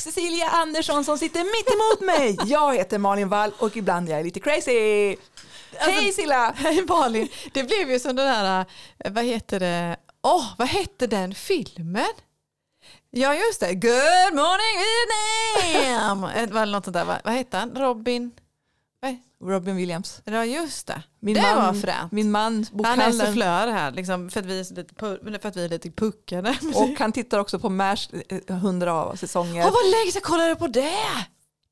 Cecilia Andersson som sitter mitt emot mig. Jag heter Malin Wall och ibland jag är lite crazy. Alltså- Hej Silla! Hej Malin, det blev ju som den där, vad heter det, åh vad hette den filmen? Ja just det, Good morning Vietnam! Eller något sånt där, va? vad hette han, Robin? Vad- Robin Williams. Ja just det, Min det man, var fränt. Min man Han är bokhandlaren. sufflör här, liksom, för, att vi är så lite, pu- eller för att vi är lite puckade. och han tittar också på Mers eh, 100 säsonger. Åh, vad länge sedan jag kollade på det!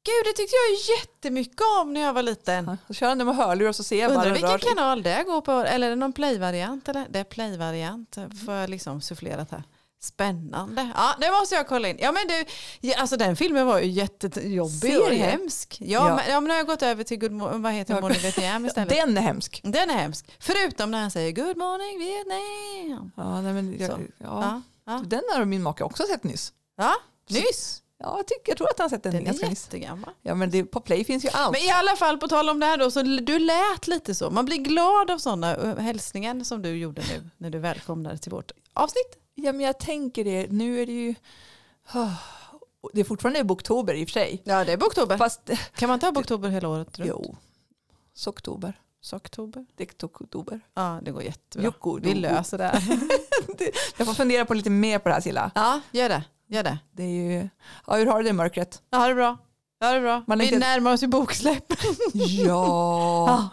Gud, det tyckte jag jättemycket om när jag var liten. Så kör han det med hörlurar så ser jag bara Undrar hur vilken rör sig. kanal det går på, eller är det någon play-variant? Eller? Det är play-variant, får jag liksom sufflerat här. Spännande. Ja, det måste jag kolla in. Ja, men du, ja, alltså den filmen var ju jättejobbig och Serie. hemsk. Ja, Ja. Men, ja, men nu har jag gått över till Good Mo- vad heter Ja. Morning Vietnam istället. Den är hemsk. Den är hemsk. Förutom när han säger Good morning Vietnam. Ja, nej, men jag, Så. ja. Ja, ja. Den har min make också sett nyss. ja. nyss. Ja, jag, tycker, jag tror att han har sett den, Den är ganska nyss. jättegammal. Ja, men det, på play finns ju allt. Men i alla fall på tal om det här då, så l- du lät lite så. Man blir glad av sådana ö, hälsningar som du gjorde nu när du välkomnade till vårt avsnitt. Ja, men jag tänker det. Nu är det ju... Det är fortfarande boktober i och för sig. Ja, det är boktober. Fast... Kan man ta boktober hela året runt? Jo. Socktober. Socktober. Dektober. Ja, det går jättebra. Joko. Vi löser det. här. Jag får fundera på lite mer på det här Silla. ja, gör det. Gör det. Det är ju... Ja, hur har du det i mörkret? Ja, ha det bra. Ja, det är bra. Man är Vi inte- närmar oss ju boksläpp. Ja.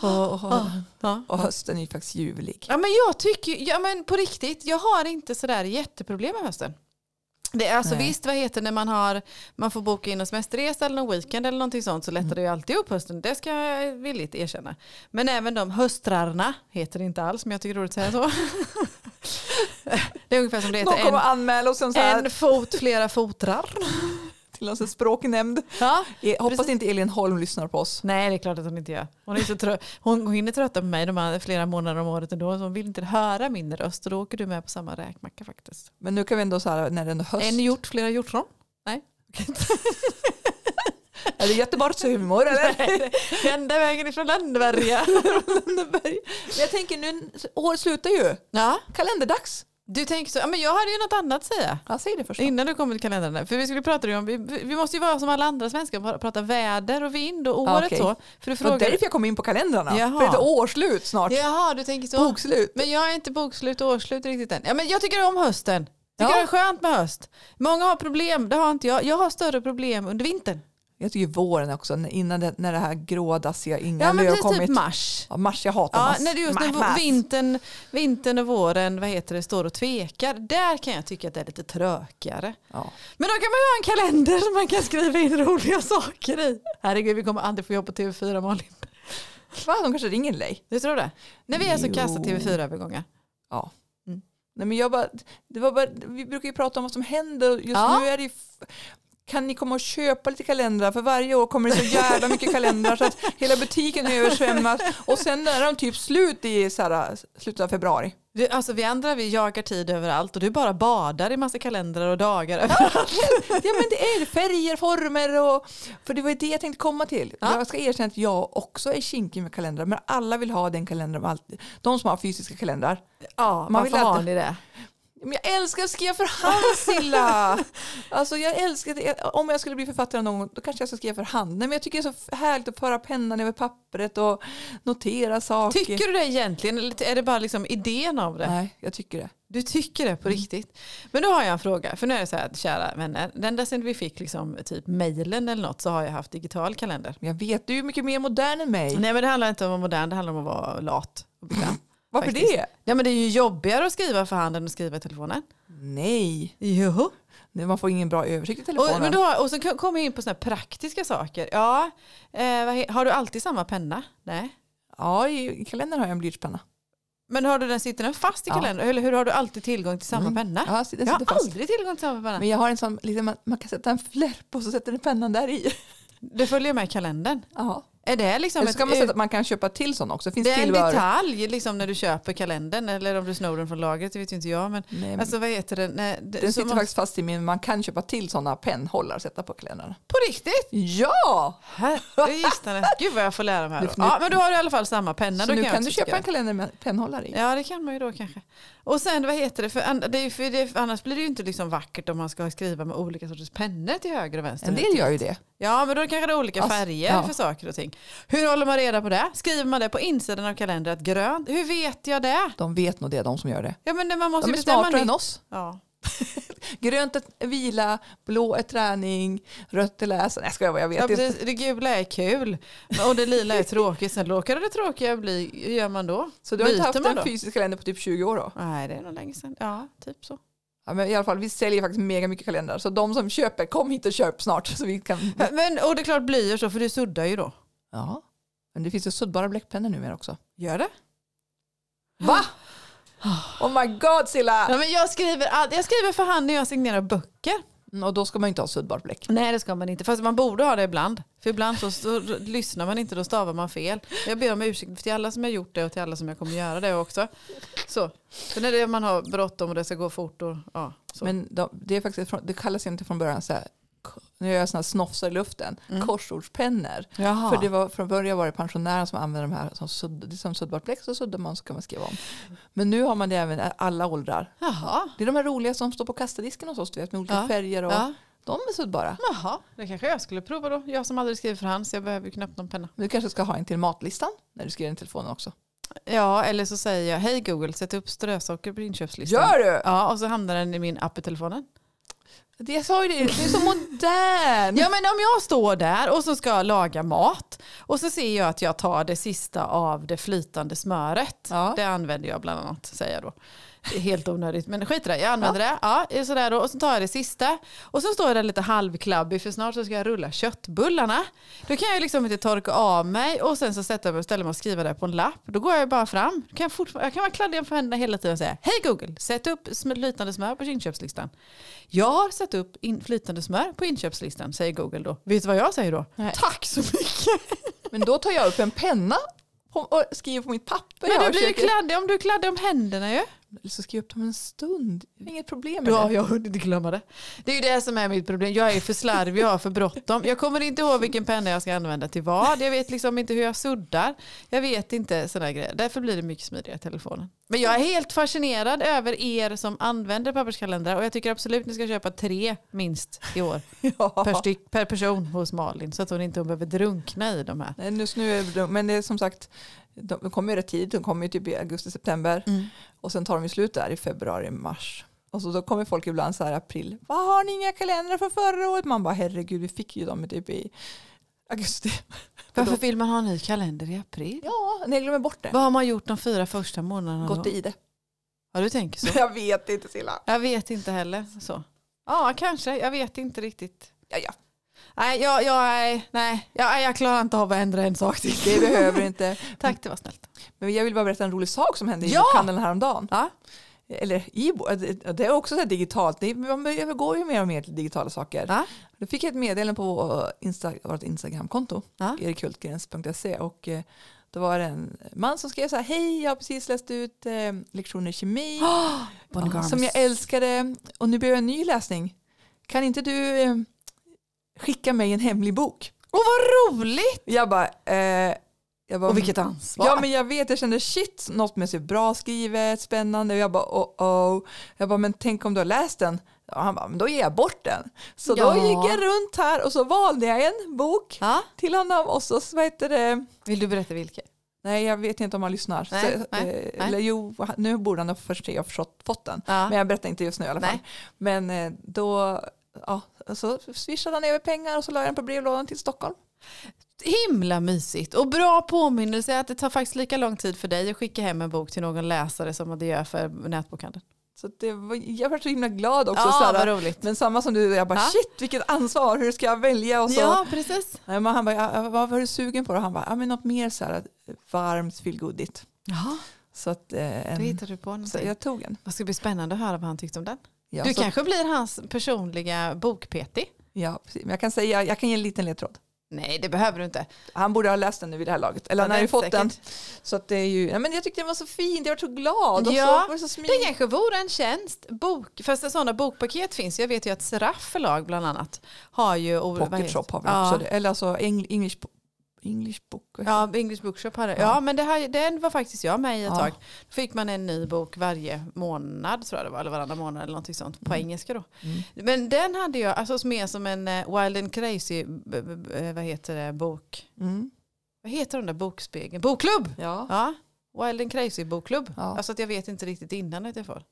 Och, och, Ja. och hösten är ju faktiskt ljuvlig. Ah. Ja, men jag tycker, ja, men på riktigt, jag har inte sådär jätteproblem med hösten. Det är alltså Nej. visst, vad heter det när man, har, man får boka in en semesterresa eller någon weekend eller någonting sånt så Mm. lättar det ju alltid upp hösten. Det ska jag villigt erkänna. Men även de höstrarna heter det inte alls, men jag tycker det är roligt att säga så. det är ungefär som det Någon heter kommer en, att anmäla oss om så här, en fot, flera fotrar. till någon sån här språknämnd. Ja. Eh, Hoppas Precis. inte Elin Holm lyssnar på oss. Nej, det är klart att hon inte gör. Hon, är så trö- hon, hon hinner trötta på mig de här flera månader om året ändå. Så hon vill inte höra min röst och då åker du med på samma räkmacka faktiskt. Men nu kan vi ändå så här när det är höst. En hjort, flera hjortron? Nej. Är det Göteborgshumor eller? Enda vägen ifrån Landberga. Lönneberg. Men jag tänker nu, år slutar ju. Ja. Kalenderdags. Du tänker så, ja, men jag hade ju något annat att säga. Ja, säg det först. då. Innan du kom till kalendern. där. För vi skulle prata ju om, vi, vi måste ju vara som alla andra svenskar, bara prata väder och vind och Ja, året okej. så. För du Det var frågar, därför jag kom in på kalendrarna. För Jaha. det är årslut snart. Jaha, du tänker så. Bokslut. Men jag är inte bokslut och årslut riktigt än. Ja, men jag tycker om hösten. Tycker Ja. det är skönt med höst. Många har problem, det har inte jag. Jag har större problem under vintern. Jag tycker våren också, när- innan det, när det här grå dassiga inga Ja, men löv har precis, kommit. typ mars. ja, mars, jag hatar Ja, mars. när det just när Mars, vår- mars. vintern, vintern och våren vad heter det, står och tvekar. Där kan jag tycka att det är lite trökigare. Ja. Men då kan man ju ha en kalender som man kan skriva in roliga saker i. Herregud, vi kommer aldrig få jobb på TV4 Malin. Va, de kanske ringer dig? Du tror det? När vi är så Jo. kassa TV4-övergångar. Ja. Mm. Nej, men jag bara, det var bara, vi brukar ju prata om vad som händer. Just Ja. nu är det ju f- kan ni komma och köpa lite kalendrar? För varje år kommer det så jävla mycket kalendrar så att hela butiken översvämmas. Och sen är de typ slut i så här, slutet av februari. Du, Alltså vi andra vi jagar tid överallt och du bara badar i massa kalendrar och dagar överallt. Ja men det är det. färger, former och... För det var ju det jag tänkte komma till. Ja. Jag ska erkänna att jag också är kinkig med kalendrar. Men alla vill ha den kalendern. med allt- De som har fysiska kalendrar. Ja, Man varför vill har alltid- ni det? Men jag älskar att skriva för hand Silla! alltså jag älskar det. Om jag skulle bli författare någon gång då kanske jag ska skriva för hand. Nej, men jag tycker det är så härligt att föra pennan över pappret och notera saker. Tycker du det egentligen eller är det bara liksom idén av det? Nej, jag tycker det. Du tycker det på Mm. riktigt. Men då har jag en fråga. För nu är det så här, kära vänner. Den där sen vi fick liksom, typ mejlen eller något så har jag haft digital kalender. Men jag vet, du är mycket mer modern än mig. Nej men det handlar inte om att vara modern, det handlar om att vara lat. och bekväm, Varför faktiskt. det? Ja men det är ju jobbigare att skriva för hand än att skriva i telefonen. Nej, Jo. Nej, man får ingen bra översikt i telefonen. Och, men då, har- och så kommer jag in på såna här praktiska saker. Ja, eh, vad he, har du alltid samma penna? Nej. Ja, i i kalendern har jag en blyertspenna. Men har du den, sitter den fast i Ja. Mm. kalendern? Eller hur har du alltid tillgång till samma penna? Ja, den sitter jag har fast. aldrig tillgång till samma penna. Men jag har en sån, liksom, man, man kan sätta en flärp och så sätter den pennan där i. Det följer med kalendern. Ja. Är det liksom Eller så kan man ett, säga att man kan köpa till sådana också. Det finns det är en tillbehör. detalj liksom när du köper kalendern eller om du snor den från lagret, det vet ju inte jag. Men, Nej, men alltså vad heter det? Nej, det Den så sitter man- faktiskt fast i min, man kan köpa till sådana pennhållare att sätta på kläderna. På riktigt? Ja! Herregud Gud vad jag får lära mig här. Nu- Ja, men då har du i alla fall samma penna. Så då nu jag kan du också köpa tycka. en kalender med pennhållare i. Ja det kan man ju då kanske. Och sen vad heter det? För, an- det är ju för det, annars blir det ju inte liksom vackert om man ska skriva med olika sorters pennor till höger och vänster. En del gör ju det. Ja men då kanske det är olika Alltså, färger ja. för saker och ting. Hur håller man reda på det? Skriver man det på insidan av kalendern att grönt? Hur vet jag det? De vet nog det, de som gör det. Ja men det- man måste De ju är bestämma smartare än nytt. oss. Ja. Grönt är vila, blå är träning, rött är läsa. Nej, ska jag, jag vet Ja, inte. precis. Det gula är kul och det lila är tråkigt. Sen råkar det tråkiga bli, hur gör man då? Så du har inte Byter haft man en då? fysisk kalender på typ 20 år då? Nej, det är nog länge sedan. Ja, typ så. Ja, men I alla fall, vi säljer faktiskt mega mycket kalendrar. Så de som köper, kom hit och köp snart. Så vi kan... Men, och det är klart blyerts så, för du suddar ju då. Ja, men det finns ju suddbara bläckpennor numera också. Gör det? Va? Oh my god Silla! Ja, men jag, skriver all, jag skriver för hand när jag signerar böcker. Mm, Och då ska man ju inte ha suddbart bläck. Nej, det ska man inte. Fast man borde ha det ibland. För ibland så, så lyssnar man inte, då stavar man fel. Jag ber om ursäkt till alla som har gjort det och till alla som jag kommer göra det också. Så. Sen är det man har bråttom och det ska gå fort. Och, ja, så. Men de, det, är faktiskt, från- det kallas inte från början så här, k- nu gör jag sådana snofsar i luften, korsordspennor. Jaha. För det var, från början var det pensionärer som använde de här som, sudd, det är som suddbart bläck, så suddar man så kan man skriva om. Men nu har man det även i alla åldrar. Jaha. Det är de här roliga som står på kassadisken hos oss, du vet, med olika Ja. färger och Ja. de är suddbara. Jaha, det kanske jag skulle prova då. Jag som aldrig skriver för hand så jag behöver ju knappt någon penna. Men Du kanske ska ha en till matlistan när du skriver den i telefonen också. Ja, eller så säger jag hej Google, sätt upp strösocker på inköpslistan. Gör du? Ja, och så hamnar den i min app i telefonen. Det jag sa ju det, du är så modern. Ja, men om jag står där och så ska jag laga mat och så ser jag att jag tar det sista av det flytande smöret. Ja. Det använder jag bland annat, säger jag då. Det är Helt onödigt, men skit i det. Jag använder det. Ja, sådär då. Och så tar jag det sista. Och så står jag där lite halvklabbig för snart så ska jag rulla köttbullarna. Då kan jag liksom inte torka av mig och sen så sätter jag mig och ställer mig och skriver det på en lapp. Då går jag bara fram. Då Kan jag, fortfar- jag kan vara kladdig på händerna hela tiden och säga Hej Google, sätt upp sm- flytande smör på inköpslistan. Jag har satt upp in flytande smör på inköpslistan, säger Google då. Vet du vad jag säger då? Nej. Tack så mycket! Men då tar jag upp en penna på- och skriver på mitt papper. Men jag du blir ju försöker- kladdig om du är kladdig om händerna ju. Eller så skriver jag upp dem en stund. Det är Inget problem med Ja, det. jag har hunnit glömma det. Det är ju det som är mitt problem. Jag är för slarvig, jag har för bråttom. Jag kommer inte ihåg vilken penna jag ska använda till vad. Jag vet liksom inte hur jag suddar. Jag vet inte sådana grejer. Därför blir det mycket smidigare i telefonen. Men jag är helt fascinerad ööver er som använder papperskalendrar och jag tycker absolut ni ska köpa tre minst i år per, Ja. styck, per person hos Malin så att hon inte behöver drunkna i de här. Nej, nu snurrar det dumt. Men det är som sagt, de de kommer ju rätt tidigt. De kommer ju typ i augusti, september. Mm. Och sen tar de ju slut där i februari, mars. Och så då kommer folk ibland så här i april. Vad har ni inga kalendrar från förra året? Man bara herregud, vi fick ju dem typ i augusti. Varför vill man ha en ny kalender i april? Ja, nej, jag glömmer bort det. Vad har man gjort de fyra första månaderna? Gått då? i det. Ja, du tänker så. Jag vet inte Silla. Jag vet inte heller. Så. Ja, kanske. Jag vet inte riktigt. Ja, ja. Nej, jag, jag, är- nej, jag, jag klarar inte av att ändra en sak till. Det behöver inte. Tack, det var snällt. Men jag vill bara berätta en rolig sak som hände i Ja! bokhandeln häromdagen. Ja. Eller i, bo- det det är också så här digitalt, Det- man övergår ju mer och mer till digitala saker. Ja. Då fick jag ett meddelande på eh, Insta, vårt Instagramkonto, Ja. erikhultgrens.se och eh, då var det en man som skrev så här, hej jag har precis läst ut eh, lektioner i kemi Ah, Bonnie som jag Garmus. älskade och nu behöver jag en ny läsning. Kan inte du eh, skicka mig en hemlig bok? Åh, vad roligt! Jag bara, eh, jag bara Och vilket ansvar. Ja men jag vet, jag kände shit, något med sig bra skrivet, spännande. Och jag bara oh oh. Jag bara men tänk om du har läst den? Och han bara men då ger jag bort den. Så Ja. då gick jag runt här och så valde jag en bok Ja. till honom och så vad heter det? Vill du berätta vilket? Nej jag vet inte om han lyssnar. Nej, så, nej, eh, nej. Eller jo, nu borde han ha först jag förstått, fått den. Ja. Men jag berättar inte just nu i alla fall. Nej. Men eh, då ja, så swishade han över pengar och så la jag den på brevlådan till Stockholm. Himla mysigt och bra påminnelse att det tar faktiskt lika lång tid för dig att skicka hem en bok till någon läsare som det gör för nätbokhandeln. Så det var, jag var så himla glad också. Ja, så här, vad roligt. Men samma som du, jag bara Ja. shit vilket ansvar, hur ska jag välja? Och så, Ja, precis. Nej, men han bara, "Ja, vad var du sugen på? Och han bara, ja, men något mer så här varmt, feelgoodigt. Ja, Så att, eh, då en, hittar du på så någonting. jag tog en. Vad ska bli spännande att höra vad han tyckte om den. Ja, Du så, kanske blir hans personliga bok-PT. ja, precis. Men jag kan säga, jag kan ge en liten ledtråd. Nej, det behöver du inte. Han borde ha läst den nu vid det här laget. Eller Ja, han har det ju fått den. säkert. Så att det är ju, ja, men jag tyckte den var så fin. Jag var så glad. Och Ja, så, var det så Det smidig. kanske vore en tjänst. Bok, fast sådana bokpaket finns. Jag vet ju att Seraf förlag bland annat har ju... och- vad heter- Pocket Shop har vi ja. också. det. Eller alltså Eng- English, English Book. Ja, English Bookshop hade ja. Ja. ja, men det här, den var faktiskt jag med i ett Ja. tag. Då fick man en ny bok varje månad, tror jag det var, eller varannan månad eller någonting sånt, på engelska då. Mm. Men den hade jag, alltså mer som en eh, Wild and Crazy, b- b- b- vad heter det, bok. Mm. Vad heter den där bokspegeln? Bokklubb! Ja. Ja, Wild and Crazy bokklubb. Ja. Alltså att jag vet inte riktigt innan att jag får.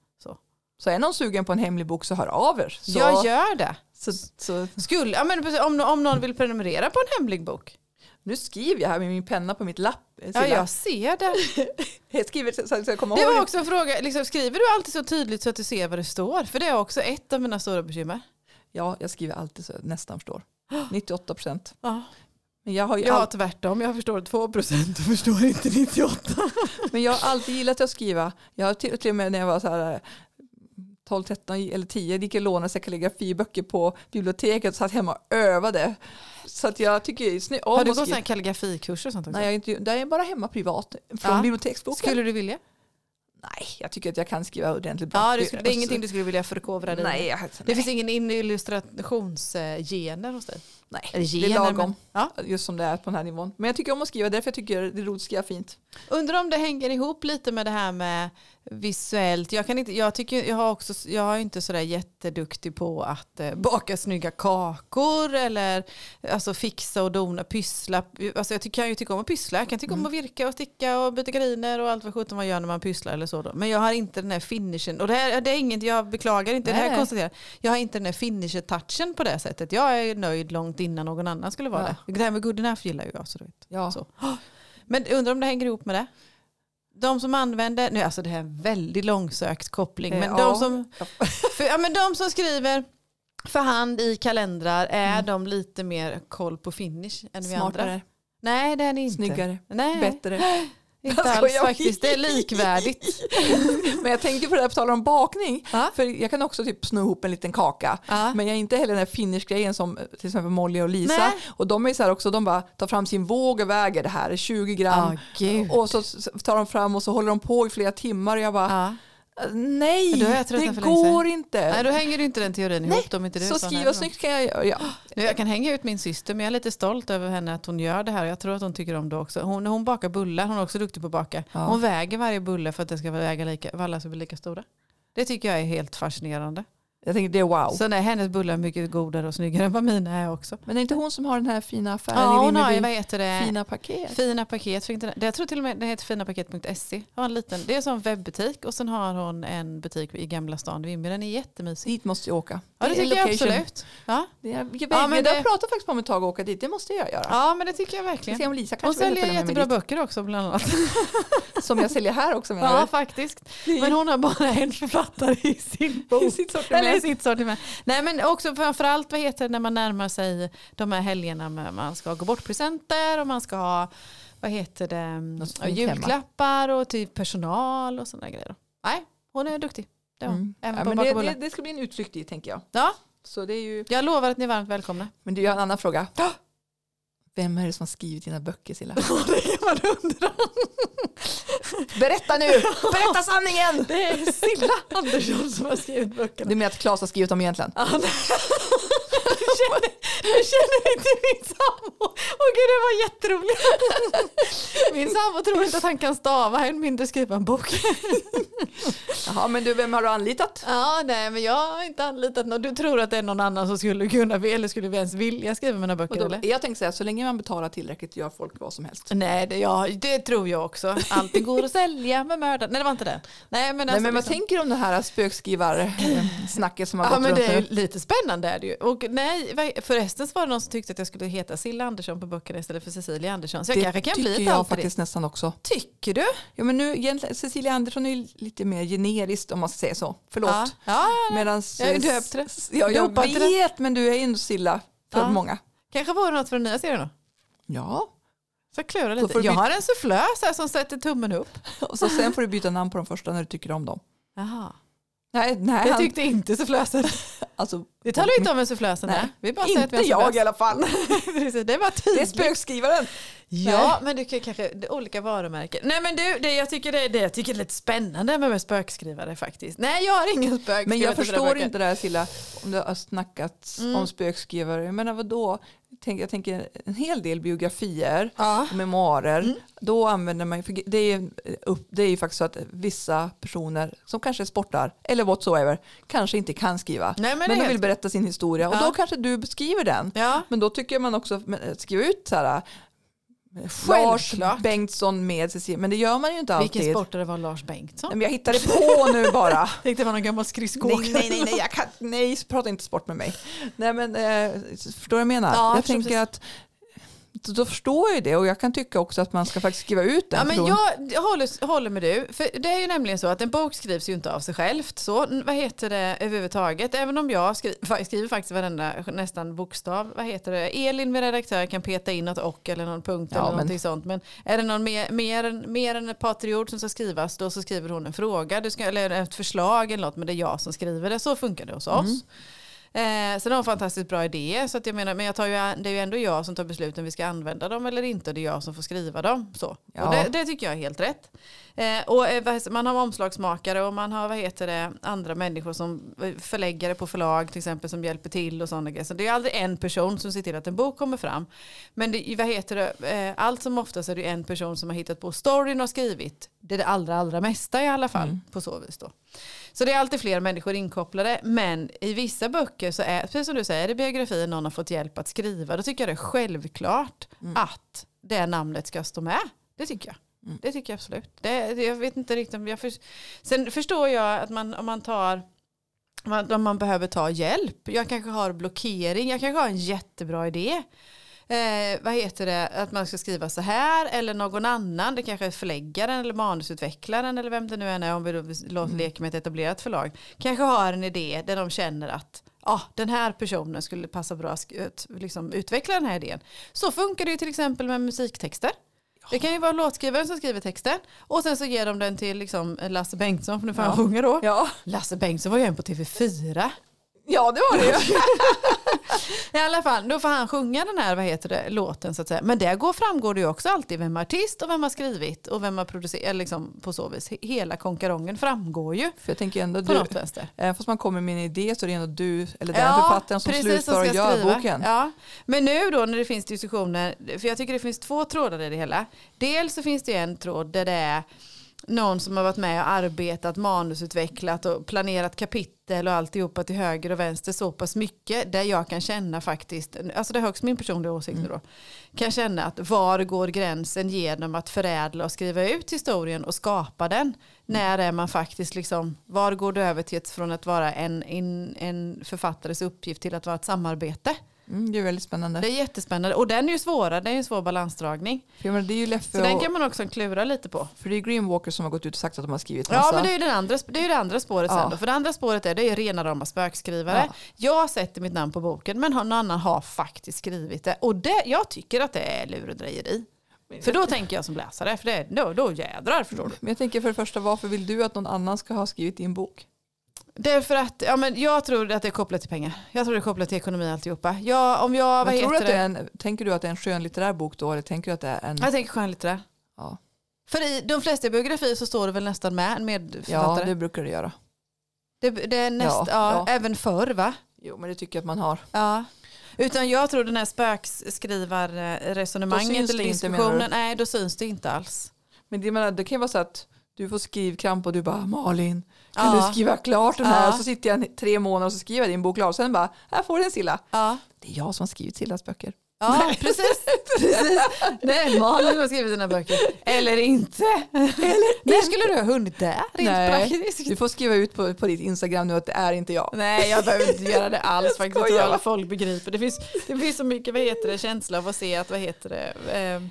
Så är någon sugen på en hemlig bok så hör av er. Så, Jag gör det. så, så, Skulle, ja, men precis, om, om någon vill prenumerera på en hemlig bok. nu skriver jag här med min penna på mitt lapp. eh, Ja, Silla. jag ser det. Jag skriver så så att jag kommer Det ihåg. var det. också en fråga, liksom, skriver du alltid så tydligt så att du ser vad det står? För det är också ett av mina stora bekymmer. Ja, jag skriver alltid så jag nästan förstår. 98 procent. Ja. Men jag, har ju Jag har all- tvärtom, jag förstår 2 procent och förstår inte 98. men jag har alltid gillat att skriva. Jag har till, till och med när jag var så här eh, 12, 13 eller 10 gick jag och lånade så här kalligrafiböcker på biblioteket och satt hemma och övade. Så att jag tycker ju sny- om Har du att gått sån skriva. här kalligrafikurs och sånt också? Nej, jag är, inte, det är bara hemma privat från Ja. biblioteksboken. skulle du vilja? Nej, jag tycker att jag kan skriva ordentligt bra. Ja, du skulle, det är ingenting du skulle vilja förkovra dig i. Nej, jag, Det finns ingen in- illustrationsgener hos dig? nej. Eller det är lagom. men- ja. Just som det är på den här nivån. Men jag tycker om att skriva, därför jag tycker det är roligt att skriva fint. Undrar om det hänger ihop lite med det här med visuellt. Jag, kan inte, jag, tycker, jag, har också, jag är inte sådär jätteduktig på att eh, baka snygga kakor eller alltså, fixa och dona, pyssla. Alltså, jag ty- kan ju tycka om att pyssla. Jag kan tycka om Mm. att virka och sticka och byta gardiner och allt vad sjutton man gör när man pysslar eller så. Då. Men jag har inte den här finishen. Och det, här, det är inget, jag beklagar inte det här Nej. konstaterar. Jag har inte den här finisher-touchen på det sättet. Jag är nöjd långt innan någon annan skulle vara Ja. det. Det här med good enough gillar ju jag. Så du vet. Ja. Så. Men undrar om det hänger ihop med det? De som använder, nu alltså det här är en väldigt långsökt koppling, men, Eh, de ja. som, för, ja, men de som skriver för hand i kalendrar, är de lite mer koll på finish än vi andra? Mm. Smartare, Eh. Nej det är ni inte. snyggare, Nej, bättre. inte Jag alls skojar. faktiskt. Det är likvärdigt. Men jag tänker på det här på tal om bakning. Ja. För jag kan också typ sno ihop en liten kaka. Ja. Men jag är inte heller den här finish-grejen som till exempel Molly och Lisa. Nej. Och de är så här också, de bara tar fram sin våg och väger det här, 20 gram. Ah, gud. och så s- tar de fram och så håller de på i flera timmar och jag bara, Ja. nej, Men då har jag tröttnat det för länge sedan. går inte. Nej, då hänger ju inte den teorin ihop. om inte du är så sån skriva heller. snyggt kan jag göra. Ja. Nu, jag kan hänga ut min syster men jag är lite stolt över henne att hon gör det här. Jag tror att hon tycker om det också. Hon, hon bakar bullar, hon är också duktig på att baka. Ja. Hon väger varje bulle för att det ska väga lika, för alla ska bli lika stora. Det tycker jag är helt fascinerande. Jag tänker det är wow. Sen är hennes bullar mycket godare och snyggare än vad mina är också. Men är det inte hon som har den här fina affären Ja, i hon har ju, Vimmerby? vad heter det? Fina paket. Fina paket. Fick inte den- Jag tror till och med det heter finapaket.se. Har en liten, det är en sån webbutik och sen har hon en butik i Gamla stan i Vimmerby. Den är jättemysig. Dit måste jag åka. Ja det är tycker jag location. absolut. Ja, Det är, jag, Ja, ja, men jag det- pratar faktiskt om ett tag att åka dit, det måste jag göra. ja men det tycker jag Vi verkligen. se om Lisa Hon kanske vill säljer följa med mig jättebra dit. böcker också bland annat. Som jag säljer här också Ja, menar faktiskt. du? Men hon har bara en författare i sin Det är bok. i sitt sortiment. Eller i sitt sortiment. Nej men också framförallt vad heter det när man närmar sig de här helgerna med man ska gå bort presenter och man ska ha vad heter det, Något ja, fint hemma. julklappar och typ personal och sådana grejer. Nej, hon är duktig. Det är hon. Mm. Även Ja, på men att baka det, det, bullar. det ska bli en utflykt dit tänker jag. Ja, Så det är ju... jag lovar att ni är varmt välkomna. Men du, jag har en annan fråga. Vem är det som har skrivit dina böcker Silla? det kan man undra. Berätta nu! Berätta sanningen! Det är Silla Andersson som har skrivit böckerna. Du menar att Claes har skrivit dem egentligen? Ja, nej. Jag känner, jag känner inte min sambo. Åh gud, det var jätteroligt. Min sambo tror inte att han kan stava, än mindre skriva en bok. Jaha, men du, vem har du anlitat? Ja, nej, men jag har inte anlitat någon. Du tror att det är någon annan som skulle kunna, eller skulle vi ens vilja skriva mina Och böcker? då, eller? jag tänkte säga, så länge man betalar tillräckligt gör folk vad som helst. Nej, det, ja, det tror jag också. Allting går att sälja med mördaren. Nej, det var inte den. Nej, men, alltså, Nej, men vad liksom- tänker du om det här spökskrivarsnacket som har gått Ja men runt det är nu? ju lite spännande är det ju. Och nej, vad- förresten så var det någon som tyckte att jag skulle heta Silla Andersson på böckerna istället för Cecilia Andersson. Så jag kanske kan bli tycker ett jag alter faktiskt nästan också. ego. Tycker du? Ja, men nu, egentligen, Cecilia Andersson är ju lite mer generiskt om man ska säga så. Förlåt. Ja. Ja, ja. Medan, Jag är döpt till det. Ja, jag Dopad till det. vet, men du är ju ändå Silla för Ja. många. Kanske vore något för den nya serien då? Ja, Så jag klurar Då lite. får Jag du byta- har en sufflös här som sätter tummen upp. och så sen får du byta namn på de första när du tycker om dem. Jaha. Nej, nej Det han, tyckte inte sufflösen. alltså, Det talar ju inte om en sufflösen Nej. är. Vi bara säger att vi inte har jag i sufflös. alla fall. Precis, det var Det är tydligt. spökskrivaren. Ja, men du kan kanske det är olika varumärken. Nej, men du, det jag tycker det, är- det jag tycker är lite spännande med, med spökskrivare faktiskt. Nej, jag har ingen spökskrivare. Men jag till förstår Rebecca. inte det här Silla, om det har snackats Mm. om spökskrivare. Jag menar vadå? Jag tänker, jag tänker en hel del biografier Ja. Mm. och memoarer. Då använder man, för det är, ju eh, upp, det är ju faktiskt så att vissa personer som kanske sportar eller whatsoever kanske inte kan skriva. Nej, men det är de helt- vill berätta sin historia och Ja. då kanske du beskriver den. Ja. Men då tycker man också, men, skriv ut så här Lars Självklart. Bengtsson med Cecilia, men det gör man ju inte alltid. Vilken sportare var Lars Bengtsson? Nej, Men jag hittade på nu bara. Tänkte det var någon gammal skridskoåkare. Nej, nej, nej, nej, jag kan, nej, prata inte sport med mig. Nej, men eh, förstår du vad jag menar? Ja, jag jag förstår tänker att då- då förstår jag ju det och jag kan tycka också att man ska faktiskt skriva ut den. Ja, men personen. jag håller, håller med du. För det är ju nämligen så att en bok skrivs ju inte av sig självt. Så n- vad heter det överhuvudtaget? Även om jag skri, fa- skriver faktiskt varenda nästan bokstav. Vad heter det? Elin, min redaktör, kan peta in något och eller någon punkt Ja, eller men- någonting sånt. Men är det någon mer, mer, än- mer än ett par tre ord som ska skrivas då så skriver hon en fråga du ska, eller ett förslag eller något. Men det är jag som skriver det. Så funkar det hos Mhm. oss. Eh, sen har hon fantastiskt bra idéer. Så att jag menar, men jag tar ju, an- det är ju ändå jag som tar besluten. Vi ska använda dem eller inte. Det är jag som får skriva dem. Så. Ja. Och det, det tycker jag är helt rätt. Eh, och eh, vad heter- man har omslagsmakare och man har vad heter det, andra människor som eh, förläggare på förlag till exempel som hjälper till och sådana grejer. Så det är aldrig en person som ser till att en bok kommer fram. Men det, vad heter det, eh, allt som oftast är det ju en person som har hittat på storyn och skrivit det, är det allra allra mesta i alla fall på så vis då. Så det är alltid fler människor inkopplade men i vissa böcker så är, precis som du säger, är det biografier någon har fått hjälp att skriva. Då tycker jag det är självklart att det namnet ska stå med. Det tycker jag. Det tycker jag absolut. Det, det- jag vet inte riktigt om jag för, Sen förstår jag att man, om man tar om man, om man behöver ta hjälp. Jag kanske har blockering. Jag kanske har en jättebra idé. Eh, vad heter det? Att man ska skriva så här eller någon annan. Det kanske är förläggaren eller manusutvecklaren eller vem det nu än är. Om vi då låter Mm. leker med ett etablerat förlag. Kanske har en idé där de känner att ah, den här personen skulle passa bra att sk- ut, liksom, utveckla den här idén. Så funkar det ju till exempel med musiktexter. Det kan ju vara låtskrivaren som skriver texten och sen så ger de den till liksom Lasse Bengtsson för nu får han sjunga då. ja. Lasse Bengtzing var ju en på TV4. ja, det var det ju. I alla fall, då får han sjunga den här vad heter det, låten så att säga. Men där går, framgår det ju också alltid vem är artist och vem har skrivit och vem har producerat. Liksom, på så vis. He- Hela konkarongen framgår ju För jag tänker ändå på du, något vänster. även fast man kommer med en idé så är det ändå du eller den författaren som precis, slutför och ska gör skriva. boken. Ja. Men nu då när det finns diskussioner, för jag tycker det finns två trådar i det hela. Dels så finns det ju en tråd där det är någon som har varit med och arbetat, manusutvecklat och planerat kapitel och alltihopa till höger och vänster så pass mycket där jag kan känna faktiskt, alltså det är högst min personliga åsikt nu då, kan känna att var går gränsen genom att förädla och skriva ut historien och skapa den? När är man faktiskt liksom, var går det över till att, från att vara en, en, en författares uppgift till att vara ett samarbete? Mm, det är väldigt spännande. Det är jättespännande och den är ju svårare, det är ju en svår balansdragning. För jag menar, det är ju Så Leffe den och, kan man också klura lite på. Alltså. för det är Green Walker som har gått ut och sagt att de har skrivit Ja, massa. men det är ju den andra, det, är ju det andra spåret Ja. sen. Då. För det andra spåret är, det är ju rena rama spökskrivare. Ja. Jag sätter mitt namn på boken men någon annan har faktiskt skrivit det. Och det, jag tycker att det är lurendrejeri. För då tänker jag som läsare, för det, är- då, då jädrar förstår du. Men jag tänker för det första, varför vill du att någon annan ska ha skrivit din bok? Därför att, ja, men jag tror att det är kopplat till pengar. Jag tror det är kopplat till ekonomi och alltihopa. Jag, om jag, vad Men heter tror du att det det? är en, tänker du att det är en skönlitterär bok då eller tänker du att det är en... Jag tänker skönlitterär. Ja. För i de flesta biografier så står det väl nästan med en Ja, medförfattare. det brukar det göra. det, det, är näst, Ja, ja, ja. Även förr va? Jo, men det tycker jag att man har. Ja. Utan jag tror den här Då syns spöksskrivarresonemanget det eller inte, menar du? diskussionen, nej då syns det inte alls. Men det, jag menar, det kan ju vara så att du får skrivkramp och du bara Malin, kan Ja. du skriva klart den här? Ja. Och så sitter jag en- tre månader och så skriver jag din bok klar och sen bara, här får du den Silla. Ja, Det är jag som har skrivit Sillas böcker. ja precis. precis. Nej, Malin har skrivit dina böcker. Eller inte. Eller När skulle du ha hunnit där? Rent Nej. praktiskt. Du får skriva ut på, på ditt Instagram nu att det är inte jag. Nej, jag behöver inte göra det alls faktiskt. Jag tror skojar. alla folk begriper. Det finns, det finns så mycket vad heter det, känsla av att se att, vad heter det, eh,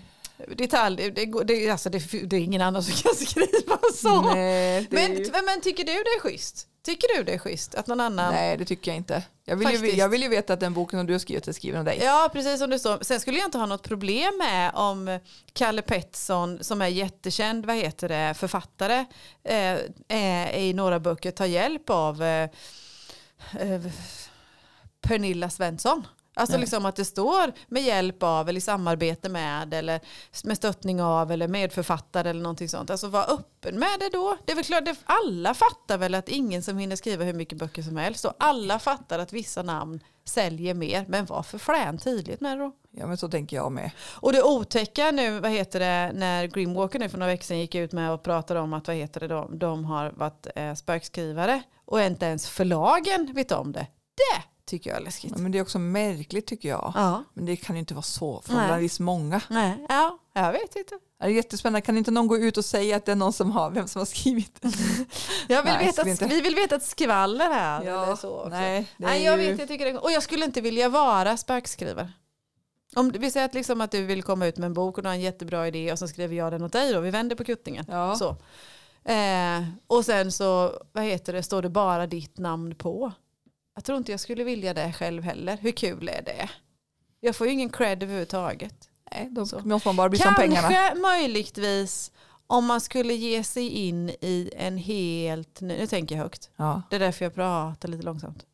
detalj, det, går- det, alltså det, det är ingen annan som kan skriva så. Nej, det men, är ju- men tycker du det är schysst? Tycker du det är schysst att någon annan Nej, det tycker jag inte. Jag vill, ju, Faktiskt. jag vill ju veta att den boken som du har skrivit är skriven av dig. Ja, precis som du sa. Sen skulle jag inte ha något problem med om Kalle Pettersson, som är jättekänd vad heter det, författare, eh, eh, i några böcker tar hjälp av eh, eh, Pernilla Svensson. Alltså Nej. liksom att det står med hjälp av eller i samarbete med eller med stöttning av eller medförfattare eller någonting sånt. Alltså var öppen med det då. Det är väl klart, det, alla fattar väl att ingen som hinner skriva hur mycket böcker som helst och alla fattar att vissa namn säljer mer. Men var för frän tydligt med det då. Ja, men så tänker jag med. Och det otäcka nu, vad heter det, när Grimwalker nu för några veckor sedan gick ut med och pratade om att vad heter det, de, de har varit eh, spökskrivare och inte ens förlagen vet om det. Det tycker jag är läskigt. Men det är också märkligt tycker jag. Ja. Men det kan ju inte vara så Nej. förhållandevis många. Nej, ja, jag vet inte. Det är jättespännande. Kan inte någon gå ut och säga att det är någon som har, vem som har skrivit? Jag vill Nej, veta ska vi att, inte. vi vill veta ett skvaller här. eller så också. nej, det är Nej, jag ju- vet, jag tycker det, och jag skulle inte vilja vara spökskrivare. Om du- vi säger att, liksom att du vill komma ut med en bok och du har en jättebra idé och så skriver jag den åt dig då, vi vänder på kuttingen. Ja. Så. Eh, och sen så, vad heter det, står det bara ditt namn på. Jag tror inte jag skulle vilja det själv heller. Hur kul är det? Jag får ju ingen cred överhuvudtaget. Nej, då Så. måste man bara bli som pengarna. Kanske möjligtvis om man skulle ge sig in i en helt ny, nu tänker jag högt, Ja, det är därför jag pratar lite långsamt.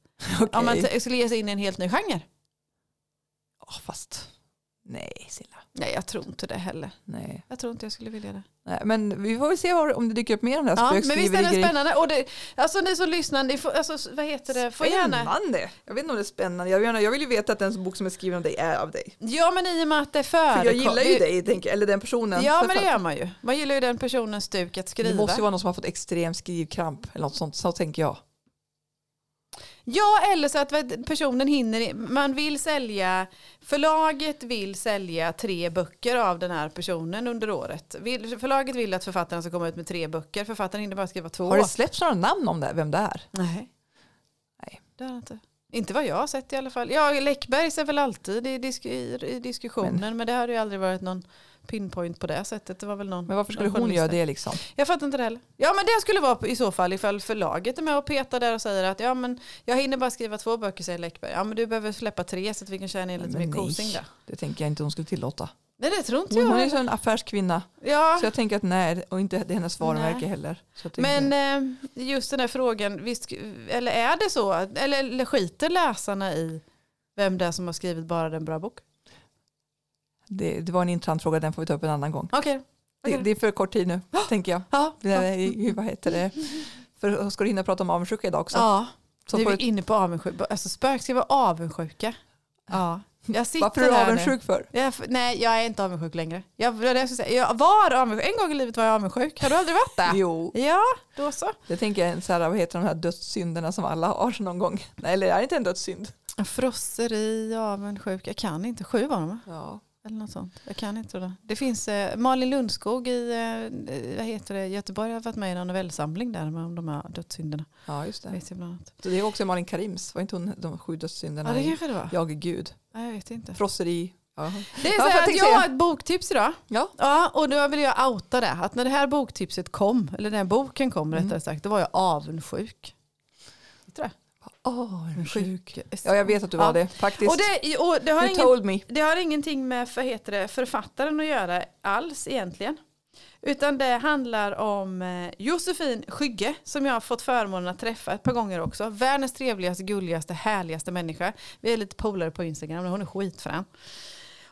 okej. Om man t- skulle ge sig in i en helt ny genre. Ja, fast nej, Silla. Nej, jag tror inte det heller. Nej. Jag tror inte jag skulle vilja det. nej. Men vi får väl se vad- om det dyker upp mer om det här Ja, men visst är det spökskriveriet. spännande? Och det, alltså ni som lyssnar, ni får, alltså, vad heter det? Får gärna. Spännande. Jag vet inte om det är spännande. Jag vill, gärna- jag vill ju veta att den bok som är skriven av dig är av dig. Ja, men i och med att det För förekommer. jag gillar ju dig, tänker, jag, eller den personen. Ja, För men det fan, gör man ju. Man gillar ju den personens stuk att det skriva. måste ju vara någon som har fått extrem skrivkramp eller något sånt. Så tänker jag. Ja, eller så att vad- personen hinner. Man vill sälja, förlaget vill sälja tre böcker av den här personen under året. Vill, förlaget vill att författaren ska komma ut med tre böcker. Författaren hinner bara skriva två. Har det släppts några namn om det, här, vem det är? Nej. Nej. Det har det inte. Inte vad jag har sett i alla fall. Ja, Läckbergs är väl alltid i, disk i, i diskussionen. Men. det har ju aldrig varit någon pinpoint på det sättet. Det var väl någon, Men varför skulle någon hon journalist göra där. det liksom? Jag fattar inte det heller. Ja men det skulle vara på- i så fall ifall förlaget är med och petar där och säger att ja men jag hinner bara skriva två böcker säger Läckberg. Ja men du behöver släppa tre så att vi kan tjäna in lite Men mer nej. kosing där. Det tänker jag inte hon skulle tillåta. Nej det tror inte Men hon är jag. ju så en affärskvinna. Ja. Så jag tänker att nej, och inte det är hennes varumärke Nej. heller. Så jag tänker- Men eh, just den här frågan, visst, eller är det så? att- Eller, eller skiter läsarna i vem det är som har skrivit bara den bra bok? det, det var en intressant fråga, den får vi ta upp en annan gång. Okej. Det, det är för kort tid nu, tänker jag. Ja. Det är, i- vad heter det? För ska du hinna prata om avundsjuka idag också? ja. så nu är får vi du, inne på avundsjuka. Alltså spök ska vara avundsjuka. Ja. Jag sitter varför är du här nu. avundsjuk för? Jag, är f- nej, jag är inte avundsjuk längre. Jag, det var det jag, skulle säga. jag var avundsjuk. En gång i livet var jag avundsjuk. Har du aldrig varit det? Jo, Ja, då så. det tänker jag är en så här, vad heter de här dödssynderna som alla har någon gång. Nej, eller är det inte en dödssynd? Frosseri, avundsjuk. Jag kan inte sju var de va? Ja. Eller något sånt. Jag kan inte det. Det finns eh, Malin Lundskog i eh, vad heter det? Göteborg har varit med i någon novellsamling där med om de här dödssynderna. ja, just det. Vet jag bland annat. Så det är också Malin Karims, var inte hon de sju dödssynderna? Ja, det i kanske det var. Jag är Gud, Nej, jag vet inte. frosseri. Ja. Det är Ja, så för jag här att tänkte jag har säga- ett boktips idag. Ja. Ja, och då vill jag outa det. Att när det här boktipset kom, eller den här boken kom Mm. rättare sagt, då var jag avundsjuk. Avundsjuk. Ja, jag vet att du var Ja. det faktiskt. Och det, och det, har you ingen, told me. det har ingenting med för, heter det, författaren att göra alls egentligen. Utan det handlar om eh, Josefin Skygge som jag har fått förmånen att träffa ett par gånger också. Världens trevligaste, gulligaste, härligaste människa. Vi är lite polare på Instagram och hon är skitfrän.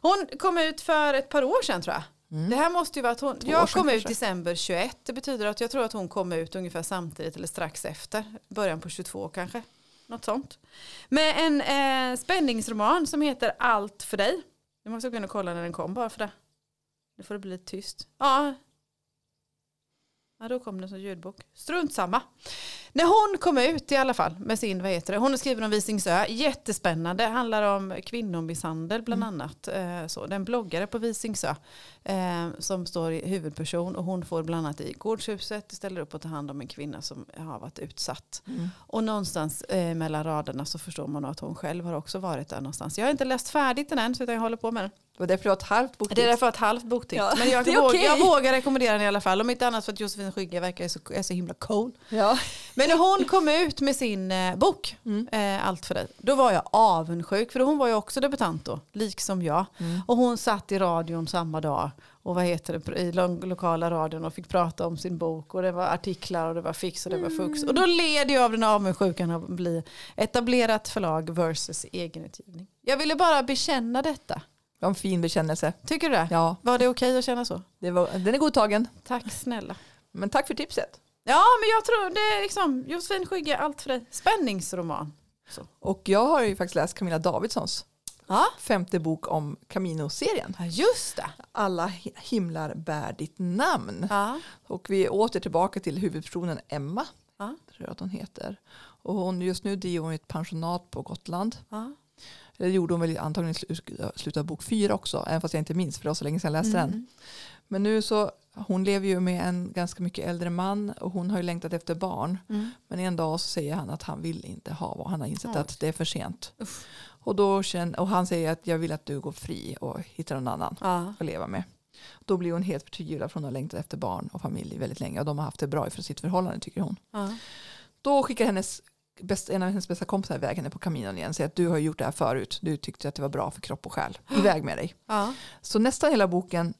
Hon kom ut för ett par år sedan tror jag. Det här måste ju vara att hon, Mm. år jag sedan kom ut kanske. december 21. Det betyder att jag tror att hon kom ut ungefär samtidigt eller strax efter. Början på 22 kanske. Något sånt. Med en eh, spänningsroman som heter Allt för dig. Nu måste jag gå in och kolla när den kom bara för det. Nu får det bli lite tyst. Ja. Ja, då kom den som ljudbok. Strunt samma. När hon kom ut i alla fall med sin, vad heter det, hon skriver om Visingsö, jättespännande, handlar om kvinnomisshandel bland annat. Eh, så. Den bloggare på Visingsö eh, som står i huvudperson och hon får bland annat i gårdshuset, ställer upp och tar hand om en kvinna som har varit utsatt. Mm. Och någonstans eh, mellan raderna så förstår man att hon själv har också varit där någonstans. Jag har inte läst färdigt den än så utan jag håller på med den. Det var därför det var ett halvt boktips. Det är därför ett halvt boktips. Ja, Men jag, det är vågar, okej. jag vågar rekommendera den i alla fall. Om inte annat för att Josefin Skygge verkar så, är så himla cool. Ja. Men när hon kom ut med sin eh, bok, Mm. eh, Allt för dig, då var jag avundsjuk. För hon var ju också debutant då, liksom jag. Mm. Och hon satt i radion samma dag och vad heter det, i lo- lokala radion och fick prata om sin bok. Och det var artiklar och det var fix och det var fux. Och då Mm. led jag av den avundsjukan av att bli etablerat förlag versus egenutgivning. Jag ville bara bekänna detta. Det var en fin bekännelse. Tycker du det? Ja, Var det okej att känna så? det var, den är godtagen. Tack snälla. Men tack för tipset. Ja, men jag tror det är liksom Josefin Skygge, allt för dig. Spänningsroman. Och jag har ju faktiskt läst Camilla Davidssons Ja, femte bok om Camino-serien. just det. Alla hi- himlar bär ditt namn. Ja. Och vi är åter tillbaka till huvudpersonen Emma. Ja. Tror jag att hon heter. Och hon, just nu driver hon ett pensionat på Gotland. Ja. Det gjorde hon väl antagligen i slu- slutet av bok fyra också. Även fast jag inte minns för det var så länge sedan jag läste den. Men nu så, hon lever ju med en ganska mycket äldre man. Och hon har ju längtat efter barn. Mm. Men en dag så säger han att han vill inte ha barn. Han har insett Oj. att det är för sent. Och, då känner, och han säger att jag vill att du går fri och hittar någon annan Ja. att leva med. Då blir hon helt förtvivlad för hon har längtat efter barn och familj väldigt länge och de har haft det bra för sitt förhållande tycker hon. Ja. Då skickar hennes bäst, en av hennes bästa kompisar iväg henne på kaminon igen och säger att du har gjort det här förut, du tyckte att det var bra för kropp och själ, iväg med dig. Ja. Så nästan hela boken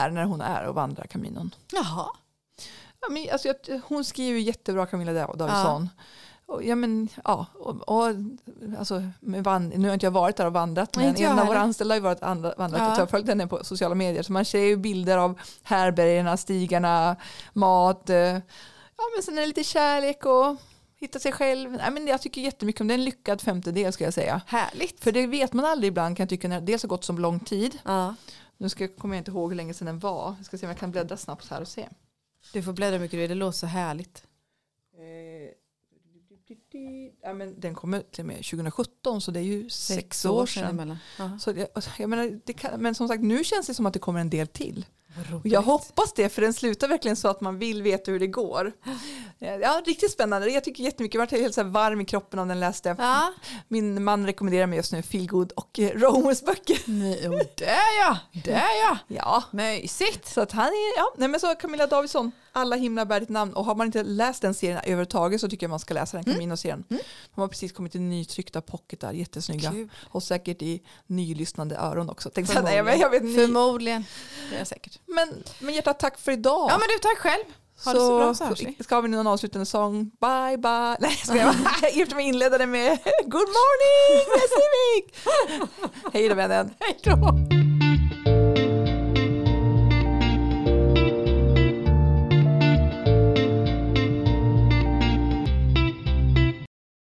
är när hon är och vandrar kaminon. Jaha. Ja, men, alltså, jag, hon skriver ju jättebra Camilla Dav- Davidsson. Och, ja, men, ja, och, och, alltså, med vand- nu har inte jag varit där och vandrat Nej, men inte jag en av våra heller. anställda har ju varit andra, vandrat Ja. och jag har följt henne på sociala medier så man ser ju bilder av härbergena, stigarna, mat. Eh, ja, men sen är det lite kärlek och hitta sig själv. Nej, men jag tycker jättemycket om det. Det är en lyckad femtedel skulle jag säga. Härligt. För det vet man aldrig ibland kan jag tycka när det dels har gått så lång tid. Ja. Nu ska, kommer jag inte ihåg hur länge sedan den var. Jag ska se om jag kan bläddra snabbt här och se. Du får bläddra hur mycket du vill, det låter så härligt. Eh, Ja, men den kommer till och med 2017 så det är ju sex, år sedan. emellan. Ja. Så jag, alltså, jag menar, det kan, men som sagt nu känns det som att det kommer en del till. Vad roligt. Och jag hoppas det för den slutar verkligen så att man vill veta hur det går. Eh, Ja, riktigt spännande. Jag tycker jättemycket. Jag blev helt så här varm i kroppen av den läste. Ja. Min man rekommenderar mig just nu Feelgood och eh, Romers böcker. Nej, jo, där ja. Där ja. Ja. Mysigt. Så att han är, ja, nej men så Camilla Davidsson, Alla himlar bär ditt namn. Och har man inte läst den serien överhuvudtaget så tycker jag man ska läsa den Mm. Camino-serien. De har precis kommit i nytryckta pocketar, jättesnygga. Kul. Och säkert i nylyssnande öron också. Tänkte jag, nej, men, jag vet, ny. Förmodligen. Det är jag säkert. men, men hjärtat, tack för idag. Ja men du, tack själv. Ha det så bra så hörs vi. Ska vi nu någon avslutande sång? Bye bye. Nej jag skojar bara. Jag gifte mig inledade med Good morning Västervik. Hej då vännen. Hej då.